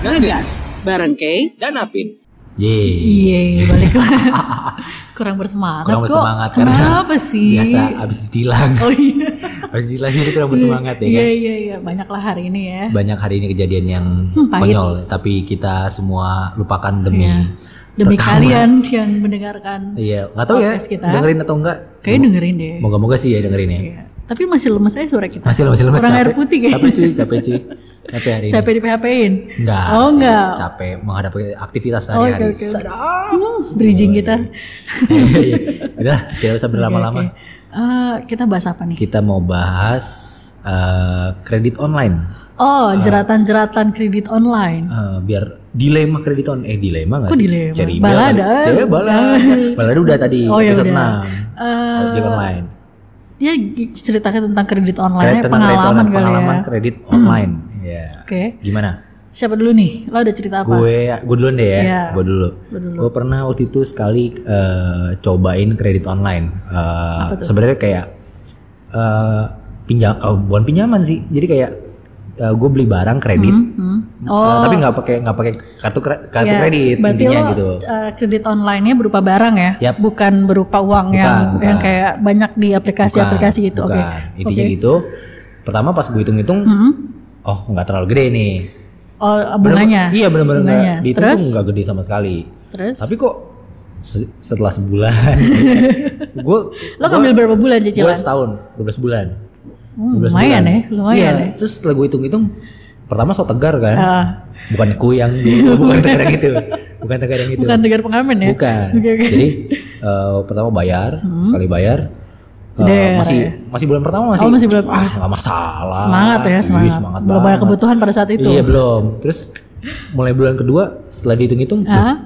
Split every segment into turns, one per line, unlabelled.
Ngegas bareng Kay
dan Apin.
Yeay.
Iya, balik lagi. Kurang bersemangat
Kurang
kok.
bersemangat karena
Kenapa sih?
Biasa abis ditilang.
Oh iya.
Abis ditilang jadi kurang bersemangat ya
Iya
kan.
iya iya, banyaklah hari ini ya.
Banyak hari ini kejadian yang
Hmm, pahit.
konyol, tapi kita semua lupakan demi
Iya. Demi
pertama.
kalian yang mendengarkan.
ya? Iya, nggak tahu ya
Podcast kita.
dengerin atau enggak.
Kayaknya dengerin deh.
Moga-moga sih ya dengerin ya.
Iya. Tapi masih lemes aja suara kita.
Masih lemes lemes
Kurang air putih
Capek
kayaknya.
cuy, capek cuy. Capek hari ini.
Capek di PHP-in.
Enggak.
Oh
sih,
enggak.
Capek menghadapi aktivitas
Oh, oke,
sehari-hari.
oke, oke. Hmm, bridging kita.
Iya, iya. Udah, tidak usah berlama-lama.
Oke, oke. Eh, kita bahas apa nih?
Kita mau bahas eh, kredit online.
Oh, jeratan-jeratan kredit online.
Eh, biar dilema kredit online eh dilema nggak
Kok
sih?
dilema?
Cari email
Balada. Iya.
kali. Cari balada. balada udah tadi
Oh, ya
episode
udah.
6.
Eh,
Ojek online.
dia ceritakan tentang kredit online,
Kredit tentang kredit
pengalaman
online,
kali
pengalaman
ya. Oke.
kredit online. Ya. Gimana?
Siapa dulu nih? Lo ada cerita apa?
Gue gue duluan deh ya.
Iya.
Gue dulu.
Lo dulu.
Gue pernah waktu itu sekali eh, cobain kredit online. Eh, Sebenarnya kayak eh pinjam, eh, bukan pinjaman sih. Jadi kayak eh, gue beli barang kredit,
Hmm?
eh, tapi nggak pakai nggak pakai kartu kre- kartu
Ya,
kredit
berarti
intinya
lo,
gitu.
eh, kredit online-nya berupa barang ya,
Yap.
bukan berupa uang yang
Bukan, bukan.
yang kayak banyak di aplikasi-aplikasi
Bukan,
gitu. Oke.
bukan. Intinya
Oke.
gitu. Pertama pas gue hitung-hitung,
Hmm?
oh nggak terlalu gede nih.
Oh,
Bener-bener-
bunganya.
Iya benar-benar
Bunganya.
nggak dihitung
Terus?
tuh nggak gede sama sekali.
Terus
Tapi kok se- setelah sebulan gue
lo ngambil berapa bulan
gue
cicilan?
setahun 12 bulan
Hmm,
12 bulan.
lumayan ya, lumayan
Iya,
ya.
terus setelah gue hitung-hitung pertama so tegar kan
Ah,
bukan ku yang bukan tegar yang itu bukan tegar yang itu
bukan negara pengamen ya?
Bukan.
Oke, oke. Hmm.
jadi eh, pertama bayar sekali bayar eh,
Gede ya,
masih
ya.
masih bulan pertama masih
Oh, masih bulan-
ah nggak masalah
Semangat ya,
Ih,
semangat.
semangat
Belum banyak
banget.
kebutuhan pada saat itu.
iya belum terus mulai bulan kedua setelah dihitung-hitung loh,
Ah,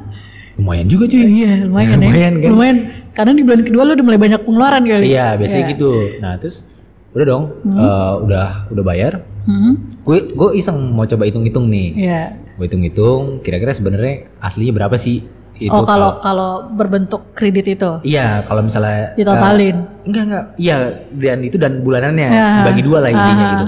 lumayan juga cuy
iya, lumayan,
Lumayan,
ya.
kan?
Lumayan. Karena di bulan kedua lo udah mulai banyak pengeluaran kali.
Iya, biasanya gitu. Nah, terus udah dong, eh, udah udah bayar.
Hmm?
Gue gue iseng mau coba hitung-hitung nih.
Iya.
Gue hitung-hitung, kira-kira sebenarnya aslinya berapa sih itu?
oh kalau kalau berbentuk kredit itu
Iya, kalau misalnya
ditotalin.
eh, enggak enggak, iya dan itu dan bulanannya
Ya.
bagi dua lah intinya gitu.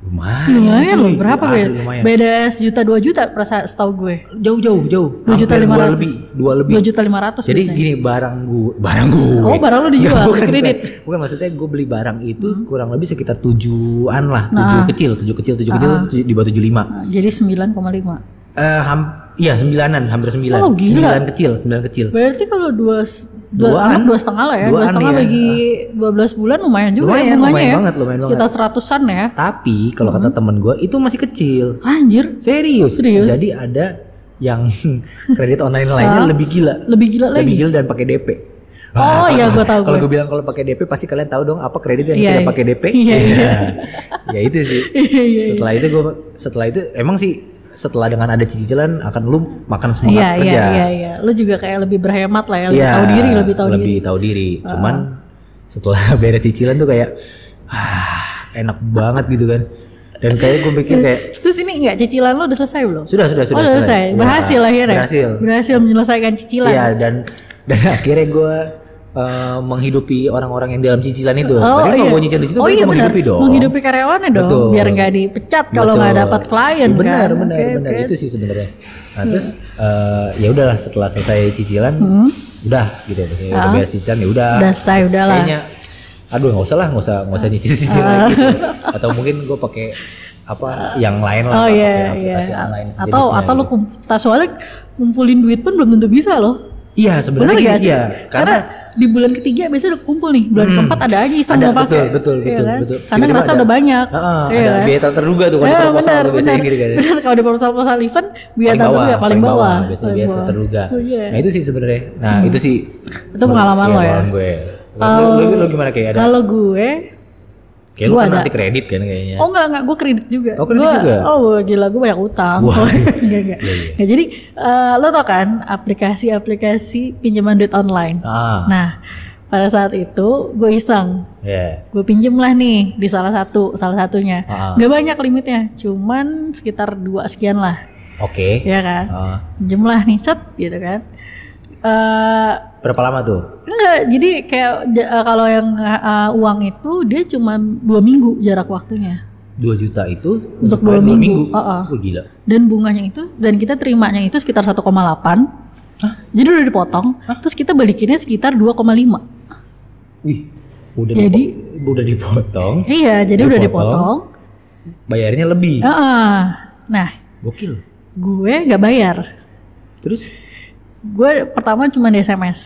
Lumayan.
lumayan
Eh, cuy.
loh berapa
Asli
ya?
Lumayan.
Beda sejuta dua juta perasa setahu gue.
Jauh jauh jauh.
Dua juta
Hampir
lima
dua
ratus.
lebih, dua lebih.
Dua juta lima ratus
Jadi
biasanya.
gini barang gue, barang gue.
Oh, barang lu dijual, kredit. Hmm.
Bukan, maksudnya gue beli barang itu kurang lebih sekitar tujuan lah, tujuh kecil, tujuh kecil, tujuh kecil,
Ah.
tujuh- di bawah tujuh lima.
Nah, Jadi sembilan koma lima.
Eh, ham, iya sembilanan, hampir sembilan,
Oh, gila.
sembilan kecil, sembilan kecil.
Berarti kalau dua dua
Duaan.
anggap dua setengah lah ya. Dua,
Duaan
setengah
ya.
bagi dua belas bulan lumayan juga ya
Lumayan,
bunganya
lumayan
ya.
banget, lumayan
Sekitar seratusan ya.
Tapi kalau kata temen gue itu masih kecil.
Anjir,
Serius.
Hmm. Oh, Serius?
Jadi ada yang kredit online lainnya lebih gila,
lebih gila
lebih
lagi.
gila dan pakai DP.
Oh,
Wah,
iya,
kalau-
gua tahu
Kalau
gue.
gue bilang kalau pakai DP pasti kalian tahu dong apa kredit yang
Iya,
tidak
iya.
pakai DP.
Iya, iya.
ya itu sih.
Iya, iya,
setelah itu gue setelah itu emang sih setelah dengan ada cicilan akan lu makan
Iya,
semangat kerja.
iya, iya, iya. Lo juga kayak lebih berhemat lah ya, lebih
Iya,
tahu diri, lebih tahu diri. Ah.
lebih tahu diri. Cuman setelah beres cicilan tuh kayak ah, enak banget gitu kan. Dan kayak gue pikir kayak
Terus ini enggak cicilan lo udah selesai belum?
sudah sudah
oh,
sudah
udah selesai.
Udah,
Berhasil akhirnya.
Berhasil.
Berhasil menyelesaikan cicilan.
Iya dan dan akhirnya gue eh, menghidupi orang-orang yang dalam cicilan itu.
Oh,
Berarti kalau
iya.
gue nyicil di situ
oh,
berarti
iya,
gua
benar.
menghidupi dong.
Menghidupi karyawannya dong,
Betul.
biar nggak dipecat kalau
Betul.
nggak dapat klien
Iya, benar,
kan.
benar,
Oke,
benar
oke. Hmm.
itu sih sebenarnya. Nah, terus eh, ya udahlah setelah selesai cicilan, udah gitu. Maksudnya Udah beres cicilan ya udah.
Ah. Udah selesai, udah lah. Ah.
Kayaknya aduh nggak usah lah, nggak usah nggak usah nyicil cicil lagi. gitu. Atau mungkin gue pakai apa yang lain lah,
Oh
pakai
iya, iya.
aplikasi online
Atau
sejenisnya
atau lo
gitu.
kump- soalnya ngumpulin duit pun belum tentu bisa loh.
Iya, sebenarnya
Benar
gini,
nggak sih?
iya.
karena,
Karena Hmm.
di bulan ketiga biasanya udah kumpul nih, bulan keempat ada aja iseng
ada
nggak pakai.
betul betul
Iya
betul
kan?
betul.
Karena
Tiba-tiba
ngerasa
ada-
udah banyak.
Heeh,
Iya
ada
kan?
biaya tak terduga tuh kalau di
Eh,
proposal
benar,
tuh biasanya
benar.
gitu kan.
Benar, kalau di proposal-proposal event biaya tak terduga ya, paling bawah.
biasanya gitu.
Paling
biaya tak
bawah.
terduga.
Oh, iya. Hmm.
Nah, itu sih sebenarnya. Nah, itu sih
Itu pengalaman
Iya,
lo ya.
pengalaman gue. Lo- lo, lo gimana kayak ada?
Kalau gue
Kayak lo
gua
kan
ada.
nanti kredit kan kayaknya.
Oh enggak enggak gue kredit juga.
Oh, kredit
Gua-
juga?
Oh gila gue banyak utang. enggak
Iya,
enggak. Nah, jadi eh, lo tau kan aplikasi-aplikasi pinjaman duit online.
Ah,
Nah pada saat itu gue iseng
ya.
gue pinjem lah nih di salah satu salah satunya.
Ah.
Enggak banyak limitnya, cuman sekitar dua sekian lah,
Oke.
ya kan?
Ah,
Pinjem lah nih cet gitu kan. Eh
berapa lama tuh?
Enggak, jadi kayak j- eh, kalau yang eh, uang itu dia cuma dua minggu jarak waktunya.
2 juta itu
Untuk dua
bayar dua
minggu. Ah, Heeh.
Wah, gila.
dan bunganya itu dan kita terimanya itu sekitar 1,8 jadi udah dipotong terus kita balikinnya sekitar 2,5
Wih, udah
Jadi-
dipo- udah dipotong,
iya jadi udah
Dipotong.
dipotong
bayarnya lebih.
Heeh. nah
Gokil.
gue nggak bayar
Terus
gue pertama cuma di sms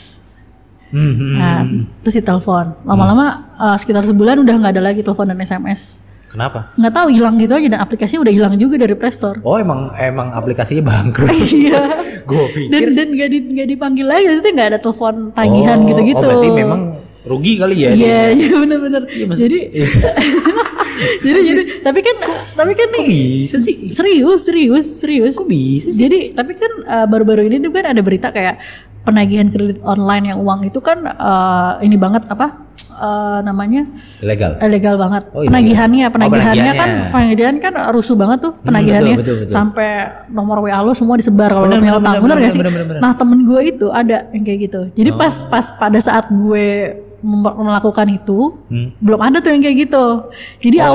Hmm,
nah, terus ditelepon lama-lama eh, sekitar sebulan udah nggak ada lagi telepon dan sms
kenapa?
nggak tahu hilang gitu aja dan aplikasinya udah hilang juga dari playstore
Oh, emang emang aplikasinya bangkrut.
iya
Gue pikir
dan dan nggak di- nggak dipanggil lagi maksudnya nggak ada telepon tagihan
Oh,
gitu-gitu
Oh, berarti memang rugi kali ya. dia. Iya.
Iya, iya benar-benar. jadi jadi jadi tapi kan tapi kan
Kok
nih
bisa sih?
serius serius serius.
Kok bisa sih?
Jadi tapi kan eh, baru-baru ini tuh kan ada berita kayak penagihan kredit online yang uang itu kan eh, ini banget apa eh, namanya
Ilegal.
Eh, legal banget.
Oh, iya,
penagihannya,
iya. Oh,
penagihannya kan
penagihannya. Hmm,
penagihan kan rusuh banget tuh penagihannya.
betul, betul, betul.
Sampai nomor WA lo semua disebar kalau lo
Benar,
punya
benar,
utang,
benar,
benar gak
benar,
sih?
benar, benar.
Nah, temen gue itu ada yang kayak gitu. Jadi
Oh.
pas pas pada saat gue mem- melakukan itu
Hmm.
belum ada tuh yang kayak gitu. Jadi
Oh,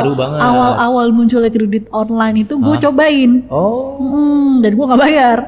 masih baru banget. Ah.
awal-awal munculnya kredit online itu gue cobain.
Oh.
Hmm, dan gue gak bayar.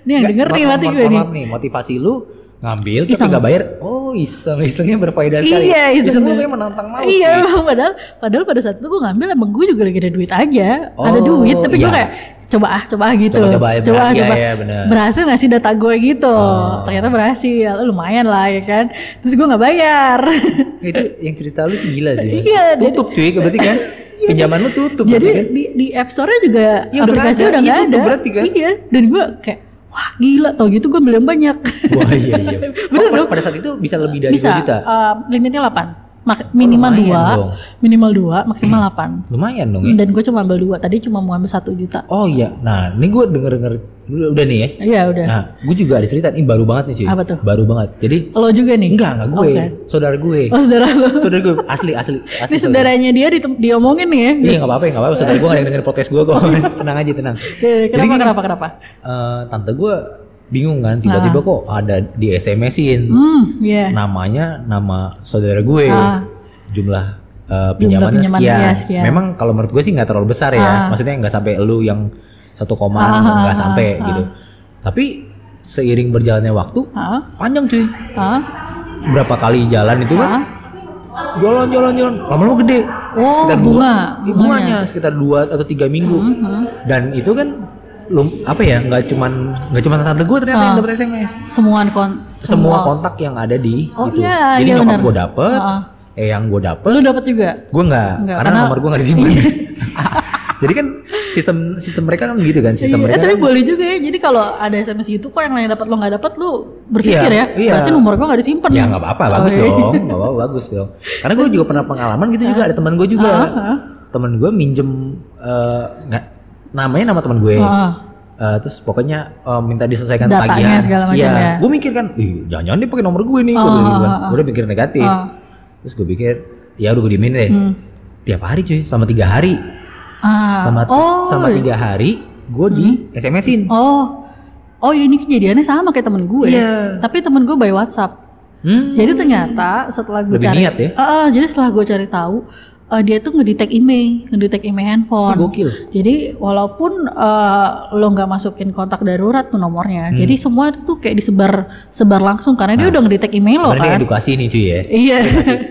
Ini yang denger nih mati gue nih.
Maaf nih, motivasi lu ngambil tapi
Iseng.
nggak bayar. Oh, iseng isengnya berfaedah sekali.
Iya,
iseng.
iseng.
lu kayak menantang maut. cuy.
Iya emang padahal padahal pada saat itu gue ngambil emang gue juga lagi ada duit aja, ada
Oh,
duit tapi gue
iya.
kayak coba ah coba ah gitu,
Coba-coba ya, Oh.
coba ah,
benar. Iya,
coba.
iya, benar.
berhasil nggak sih data gue gitu, ternyata berhasil lumayan lah ya kan, terus gue nggak bayar,
Itu yang cerita lu sih gila sih. Mas.
Iya, jadi- Iya,
tutup cuy, berarti kan pinjaman lu tutup
jadi
berarti kan.
di di App Store-nya juga
Iya, udah
aplikasi
nggak ada.
udah nggak
Iya,
ada,
tutup berarti kan.
iya, dan gue kayak wah gila tau gitu gue beli yang banyak,
Wah, iya iya.
Bener
Oh, pada- pada saat itu bisa lebih dari 2
bisa
juta.
eh, limitnya 8 Mak- minimal
lumayan
dua,
dong.
minimal dua, maksimal 8
Lumayan dong ya.
dan gue cuma ambil dua tadi cuma mau ambil satu juta
Oh iya. Nah, ini gue denger-denger udah, udah nih ya.
Iya udah.
Nah, gue juga ada cerita ini baru banget nih cuy.
Apa tuh?
Baru banget. Jadi
Lo juga nih?
enggak enggak gue,
Oke.
saudara gue.
Oh saudara lo.
Saudara gue asli asli asli.
Ini
saudara.
saudaranya dia ditem- diomongin nih ya.
Iya nggak apa-apa, nggak apa-apa. Saudara gue nggak ada yang dengerin podcast gue kok. tenang aja tenang.
Oke,
Jadi
Kenapa,
gini,
kenapa kenapa
eh, tante gue bingung kan, tiba-tiba
Nah.
kok ada di SMS-in
Hmm, iya.
namanya nama saudara gue,
Ah.
jumlah eh, pinjamannya
pinjaman
sekian.
dia sekian. Ah.
Memang kalau menurut gue sih nggak terlalu besar ya, maksudnya nggak sampai lu yang satu koma nggak sampai
ah,
gitu. Tapi seiring berjalannya waktu,
Hah?
panjang cuy.
Hah?
Berapa kali jalan itu kan? Jalan, jalan, jalan. Lama-lama gede.
Ah. Oh, bunga, Mhm.
dua, iya, bunganya sekitar dua atau tiga minggu. Dan itu kan lum, apa ya? Nggak cuman nggak cuman tante gue ternyata
Ah.
yang dapat SMS.
Semua kon
Semua kontak yang ada di
Oh,
itu.
iya,
Jadi
iya,
nyokap
benar.
gue dapet,
Heeh.
eh yang gue dapet,
Lu dapat juga.
gue nggak
Nggak,
karena,
karena-
nomor gue nggak disimpan. Jadi kan sistem sistem mereka kan gitu kan sistem
Iya, eh,
mereka.
tapi
kan-
boleh juga ya. Jadi kalau ada SMS gitu kok yang lain dapat lo nggak dapat lu berpikir
Iya,
ya.
iya.
Berarti nomor gua nggak disimpan.
Ya nggak apa-apa, bagus
Oh, iya.
dong, nggak apa-apa, bagus dong. Karena gue juga pernah pengalaman gitu juga ada teman gue juga,
Ah,
teman gue minjem eh, nggak namanya nama teman gue,
Ah.
Eh, terus pokoknya eh, minta diselesaikan
Datanya
tagihan.
segala macam
Iya.
ya. Ah,
gue mikir kan, ih jangan-jangan dia pakai nomor gue nih, gue bilang gitu kan. Gue udah mikir negatif, terus gue pikir ya udah gue diemin
Hmm.
deh. Tiap hari cuy, selama tiga hari,
Ah,
sama
oh.
sama tiga hari gue di SMS-in.
Oh. Oh, ini kejadiannya sama kayak temen gue.
Iya.
Tapi temen gue by WhatsApp.
Hmm,
Jadi ternyata setelah gue
Lebih
cari,
niat ya?
Heeh, jadi setelah gue cari tahu eh, dia tuh ngedetect email, ngedetect email handphone.
gokil.
Jadi walaupun eh, lo nggak masukin kontak darurat tuh
Hmm.
nomornya, jadi semua tuh kayak disebar sebar langsung karena dia udah ngedetect email lo
Nah. Sebenarnya
kan.
edukasi nih cuy ya.
Iya.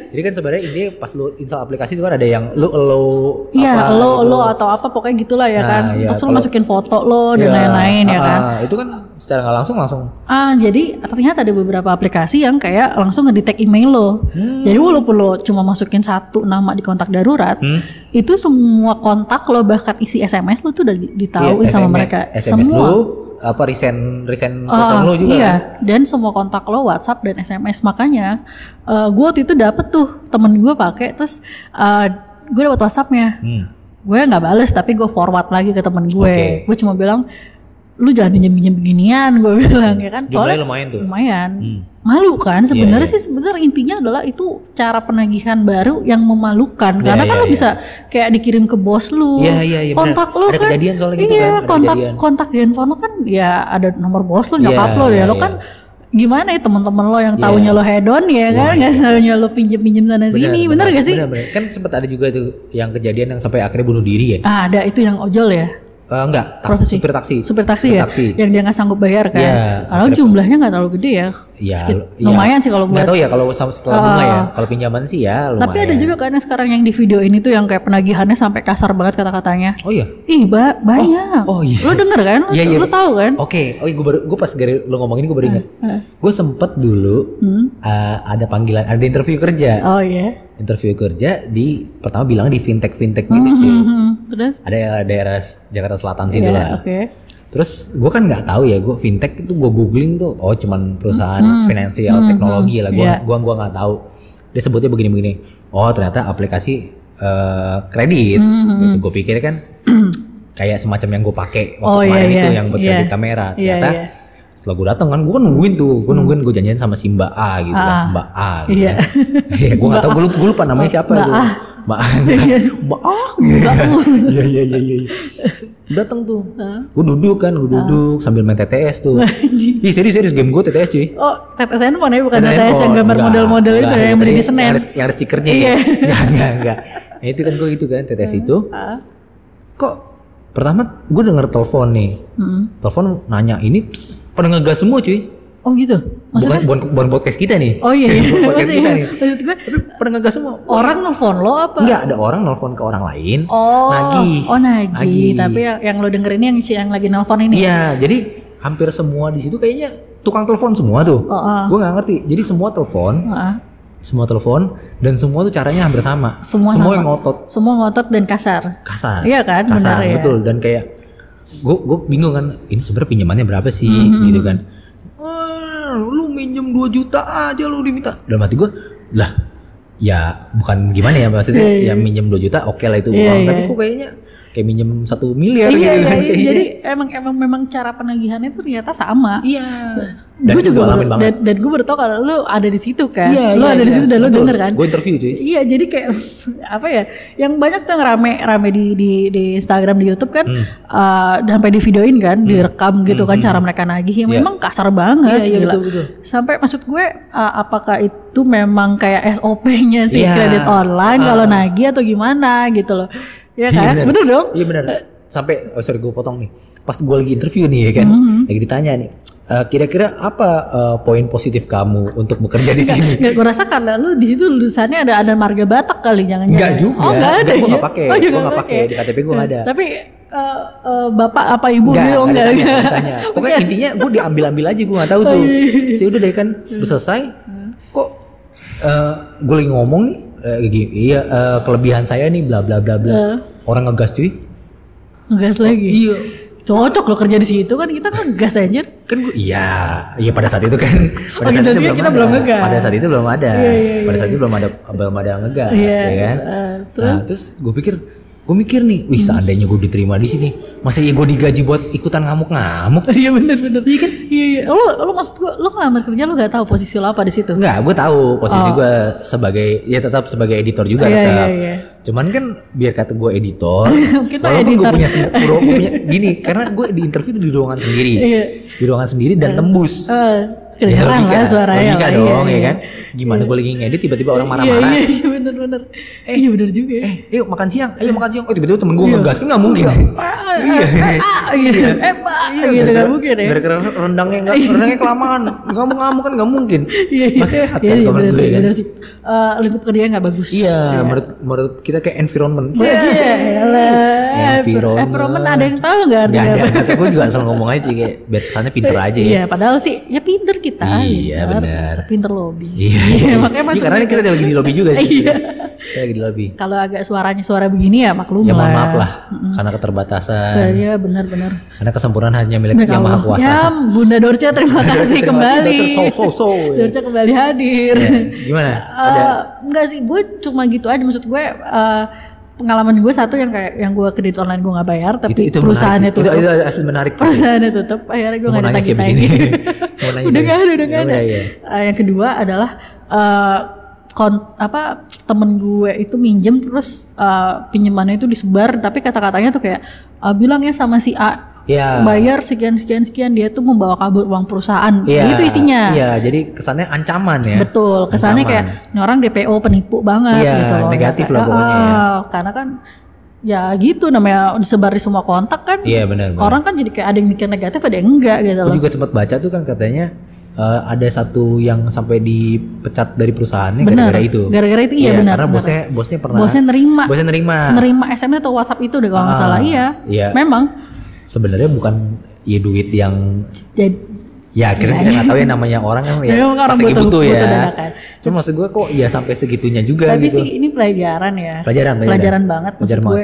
Jadi kan sebenarnya ini pas lu install aplikasi itu kan ada yang lu gitu. lo
Iya, lo lo atau apa pokoknya gitulah ya
Nah,
kan.
iya,
Terus lo
kalau-
masukin foto lo dan lain-lain ya kan.
Iya. Itu kan secara nggak langsung langsung.
Ah, jadi ternyata ada beberapa aplikasi yang kayak langsung ngedetect email lo. Jadi walaupun lo cuma masukin satu nama di kontak darurat,
Hmm.
itu semua kontak lo bahkan isi SMS lo tuh udah di- ditauin
Iya,
sama
SMS
mereka.
SMS
semua.
lu apa resign resign
Ah,
program lu juga.
iya,
kan?
dan semua kontak lo WhatsApp dan SMS makanya gue waktu itu dapet tuh temen gue pakai terus gue dapet WhatsAppnya
Hmm.
gue nggak bales tapi gue forward lagi ke temen gue
Oke.
gue cuma bilang lu jangan pinjam pinjam beginian gue bilang ya kan
Jumlahnya
soalnya
lumayan tuh.
lumayan
Hmm.
malu kan sebenarnya
Iya,
sih sebenarnya intinya adalah itu cara penagihan baru yang memalukan
Iya,
karena kan
iya,
lo
iya.
bisa kayak dikirim ke bos lu
Iya, iya, iya,
kontak
benar.
lu
Ada
kan
kejadian soalnya gitu
iya,
kan, ada
kontak
kejadian.
kontak di handphone lu kan ya ada nomor bos lu nyokap
Iya,
lo ya
iya,
lo
iya.
kan gimana ya teman-teman lo yang taunya
Iya.
lo hedon ya kan nggak taunya lo pinjem-pinjem sana sini bener, gak sih
bener, bener. Kan sempat ada juga tuh yang kejadian yang sampai akhirnya bunuh diri ya.
ah, ada itu yang ojol ya
Eh, enggak, taksi,
Profesi.
supir taksi.
supir taksi ya
taksi.
yang dia nggak sanggup bayar kan
Iya,
Padahal jumlahnya nggak terlalu gede ya,
Ya,
Sedikit-
ya.
lumayan sih kalau buat Ah.
Nggak tahu ya kalau sama setelah bunga ya. Kalau pinjaman sih ya lumayan.
tapi ada juga kan yang sekarang yang di video ini tuh yang kayak penagihannya sampai kasar banget kata-katanya
Oh iya.
ih ba- banyak
oh iya.
lo denger kan lo,
Iya, iya.
lo tahu kan
Oke, oke gue baru gue pas gara- lo ngomongin gue baru
Ah,
ingat. Gue sempet dulu
Hmm.
eh, ada panggilan, ada interview kerja.
oh iya
Interview kerja di pertama bilang di fintech fintech gitu cuy.
Hmm, terus
Ada daerah Jakarta Selatan situ Gitu
ya
lah.
oke
Terus gue kan nggak tahu ya gue fintech itu gue googling tuh oh cuman perusahaan finansial teknologi lah gue
Iya.
gua gua nggak tahu dia sebutnya begini-begini oh ternyata aplikasi eh, kredit gue pikir kan kayak semacam yang gue pakai waktu
Oh, iya,
kemarin itu
iya,
yang buat
iya.
kredit kamera
Iya,
ternyata
iya.
setelah gue datang kan gue nungguin tuh gue nungguin gue janjian sama si Mbak A gitu kan Mbak A gitu
Hmm. Iya. Oh,
kan. Iya, gue nggak tahu gue lupa, gua lupa namanya siapa
Mbak
itu
A. Iya.
Mbak A Mbak A gitu kan. Iya iya iya iya. Datang tuh.
Ah.
Gue duduk kan, gue duduk sambil main TTS tuh. Ih serius serius game gue TTS cuy.
oh tetes handphone ya bukan
Ada
tetes
handphone.
yang gambar
Enggak,
model-model itu ya,
enggak,
yang beli di Iya.
tadi
Senen
Yang ada, yang ada stikernya ya. Enggak enggak enggak. Nah, itu kan gue gitu kan TTS
Ah.
itu. Kok pertama gue denger telepon nih.
Hmm.
Telepon nanya ini tuh pada ngegas semua cuy.
oh gitu maksud
Bukan, bukan, bukan podcast kita nih.
oh iya, iya.
Bukan podcast
maksud,
kita nih.
maksud gue
Tapi pada ngegas semua.
orang nelfon lo apa
Enggak ada orang nelfon ke orang lain.
oh
Nagih.
oh nagih
Nagih.
tapi ya, yang, yang lo denger ini yang si yang lagi nelfon ini
Iya, jadi hampir semua di situ kayaknya tukang telepon semua tuh.
Oh, ah. oh.
Gue nggak ngerti. Jadi semua telepon,
Heeh.
semua telepon dan semua tuh caranya hampir sama.
Semua sama.
yang ngotot
semua ngotot dan kasar
kasar.
Iya kan,
kasar
benar ya.
betul dan kayak gue gue bingung kan ini sebenarnya pinjamannya berapa sih
Mm-hmm.
gitu kan. "Eh, lu minjem 2 juta aja lu diminta. Dalam hati gue lah ya bukan gimana ya maksudnya
Iya, iya.
ya minjem 2 juta oke lah itu
Iya,
uang
iya.
tapi kok kayaknya kayak minjem satu miliar
iya,
gitu
iya,
kan
iya.
kayaknya.
jadi emang emang memang cara penagihannya tuh ternyata sama
iya Dan
gue
itu gua
juga
alamin
baru-
banget.
dan, dan gue baru tau kalau lo ada di situ kan
Iya,
lo ada di situ dan lo denger kan
Gue interview cuy.
Iya, jadi kayak apa ya? Yang banyak tuh yang rame-rame di, di di Instagram, di YouTube
Hmm.
kan, eh, dan sampai di videoin kan, direkam gitu kan cara mereka nagih. Yang memang kasar
hmm. Iya,
banget,
iya,
gila.
betul, betul.
Sampai maksud gue, eh, apakah itu memang kayak SOP-nya sih
Iya.
kredit online kalau nagih atau gimana gitu loh? Iya kan? bener. dong.
Iya benar. Sampai oh sorry gue potong nih. Pas gue lagi interview nih ya kan, lagi ditanya nih. "Eh, kira-kira apa eh, poin positif kamu untuk bekerja di sini?
Nggak, gue rasa karena lu di situ lutusannya ada ada marga Batak kali jangan-jangan.
Enggak juga.
Oh, enggak ada.
Gue
ya?
enggak pakai.
Oh,
gue
juga
enggak pakai di KTP gue enggak ada.
Tapi eh, eh, bapak apa ibu
Enggak,
gitu
enggak
enggak
ditanya,
enggak.
enggak Oh, ditanya. Pokoknya intinya gue diambil-ambil aja gue gak tahu tuh. Saya udah deh kan selesai. Kok gue lagi ngomong nih eh, gini, iya eh, kelebihan saya nih bla bla bla bla. Orang ngegas cuy.
Ngegas lagi.
Iya.
Cocok lo kerja di situ kan kita ngegas aja.
Kan gue iya, iya pada saat itu kan pada
Oh,
saat
gitu, jadi kita belum ngegas.
Pada saat itu belum ada. Pada saat itu belum ada belum ada ngegas
Iya,
ya kan.
eh,
nah, terus gue pikir gue mikir nih, wih
Hmm.
seandainya gue diterima di sini, masa ya gue digaji buat ikutan ngamuk-ngamuk?
Iya bener bener. Iya kan? Iya iya. Lo lo maksud gua lo ngelamar kerja lo gak tahu posisi lo apa di situ.
Enggak, gue tahu posisi gue sebagai ya tetap sebagai editor juga
Oh. Iya,
tetap.
iya, iya.
Cuman kan biar kata gue editor,
Kita
walaupun gue
editor.
punya, sem- gua punya gini, karena gue di interview tuh di ruangan sendiri,
Iya.
di ruangan sendiri dan tembus.
Eh,
Ya,
kedengeran lah suaranya.
logika
lah,
dong ya
iya, iya.
kan. Gimana gue lagi ngedit tiba-tiba orang
Iya
marah-marah.
iya iya bener bener. iya bener juga. ya.
Eh, yuk makan siang, ayo makan siang. Oh tiba-tiba temen
Iya.
gue ngegas kan nggak mungkin. iya.
Eh, eh, ah, gitu. Eh, bah, gitu
gara-gara-
gak mungkin ya.
Gara-gara rendangnya nggak, rendangnya kelamaan, ngamuk-ngamuk kan nggak mungkin.
Iya, iya.
Masih sehat
Iya,
kan
iya,
kamar
bener
gue
sih,
kan.
bener sih. Eh, lingkup kerja nggak bagus.
Iya, menurut menurut kita kayak environment. Iya,
Iya,
Environment.
Environment ada yang tahu nggak
Gak
artinya
ada,
apa?
kata gue juga asal ngomong aja sih kayak biar kesannya pinter aja ya.
Iya, padahal sih ya pinter kita.
Iya,
pinter.
bener.
Pinter lobby.
Iya.
makanya
Iya,
masuk
karena ini
situ.
kita lagi di lobby juga sih.
Iya.
Kita lagi di lobby.
Kalau agak suaranya suara begini ya maklum
Ya mohon
lah.
maaf lah, karena keterbatasan,
Iya, benar-benar.
karena kesempurnaan hanya milik yang maha kuasa.
Ya, Bunda Dorce terima kasih
Terima
kembali.
kasih, Dorce. So, so, so. Ya,
Dorce kembali hadir.
Iya. Gimana? Ada
Eh, enggak sih gue cuma gitu aja maksud gue eh, pengalaman gue satu yang kayak yang gue kredit online gue nggak bayar tapi
itu itu
perusahaannya
menarik. sih. Itu,
tutup
itu asli menarik. tuh.
perusahaannya tutup akhirnya gue
Mau ya
nggak
nanya sih abis
ditagih
ini.
tagih
Mau nanya
udah
sih.
nggak ada udah
Ya
nggak ada
udah, ya.
Eh, yang kedua adalah eh, kon apa temen gue itu minjem terus eh, pinjemannya itu disebar tapi kata katanya tuh kayak eh, bilang ya sama si A
Ya.
bayar sekian sekian sekian dia tuh membawa kabur uang perusahaan
Iya.
itu isinya
Iya, jadi kesannya ancaman ya.
betul kesannya
Ancaman.
kayak ini orang DPO penipu banget
Iya,
gitu loh
negatif
Ya,
lah pokoknya ya.
ah, karena kan ya gitu namanya disebar di semua kontak kan
Iya, benar. benar.
orang kan jadi kayak ada yang mikir negatif ada yang enggak gitu
Gue
loh
juga sempat baca tuh kan katanya eh, ada satu yang sampai dipecat dari perusahaannya
Benar.
gara-gara itu.
Gara-gara itu, iya, benar,
Karena
benar.
bosnya bosnya pernah
bosnya nerima
bosnya nerima.
nerima SMS atau WhatsApp itu deh kalau nggak
Ah,
salah iya
iya.
memang
Sebenarnya bukan ya duit yang
jadi
ya akhirnya kita nggak tahu ya namanya orang kan ya
Jadi Iya. memang orang
pasti
butuh-
butuh, ya.
butuh dadakan.
Cuma maksud gue kok ya sampai segitunya juga
tapi
gitu.
sih ini pelajaran ya
Pelajaran, pelajaran. iya.
banget maksud
Pelajaran
gue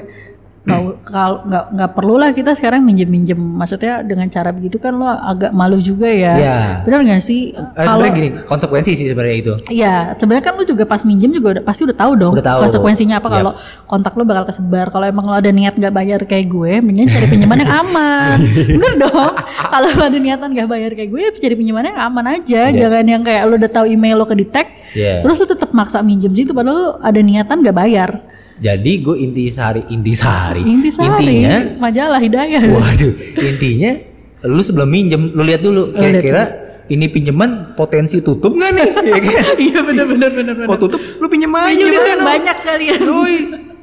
nggak- kalau nggak nggak perlu lah kita sekarang minjem minjem maksudnya dengan cara begitu kan lo agak malu juga ya
Iya.
benar nggak sih
Eh,
kalau
sebenarnya gini konsekuensi sih sebenarnya itu.
Iya, sebenarnya kan lu juga pas minjem juga udah, pasti udah tahu dong
Udah tahu. Iya.
konsekuensinya apa
Yap.
kalau kontak lu bakal kesebar. Kalau emang lo ada niat nggak bayar kayak gue, mendingan cari pinjaman yang aman. Bener dong. Kalau lo ada niatan nggak bayar kayak gue, ya cari pinjaman yang aman aja.
Iya.
Jangan yang kayak lu udah tahu email lo ke detect,
Iya.
terus lu tetap maksa minjem situ padahal lu ada niatan nggak bayar.
Jadi gue inti sehari inti sehari.
Intisari,
Intinya
majalah hidayah.
Waduh, intinya lu sebelum minjem lu lihat
Oh,
dulu kira-kira ini pinjaman potensi tutup nggak nih? Ya kan?
Iya bener bener bener bener.
Kok tutup? Lu pinjem aja
Pinjaman
deh, no.
banyak sekali ya.
Yoi.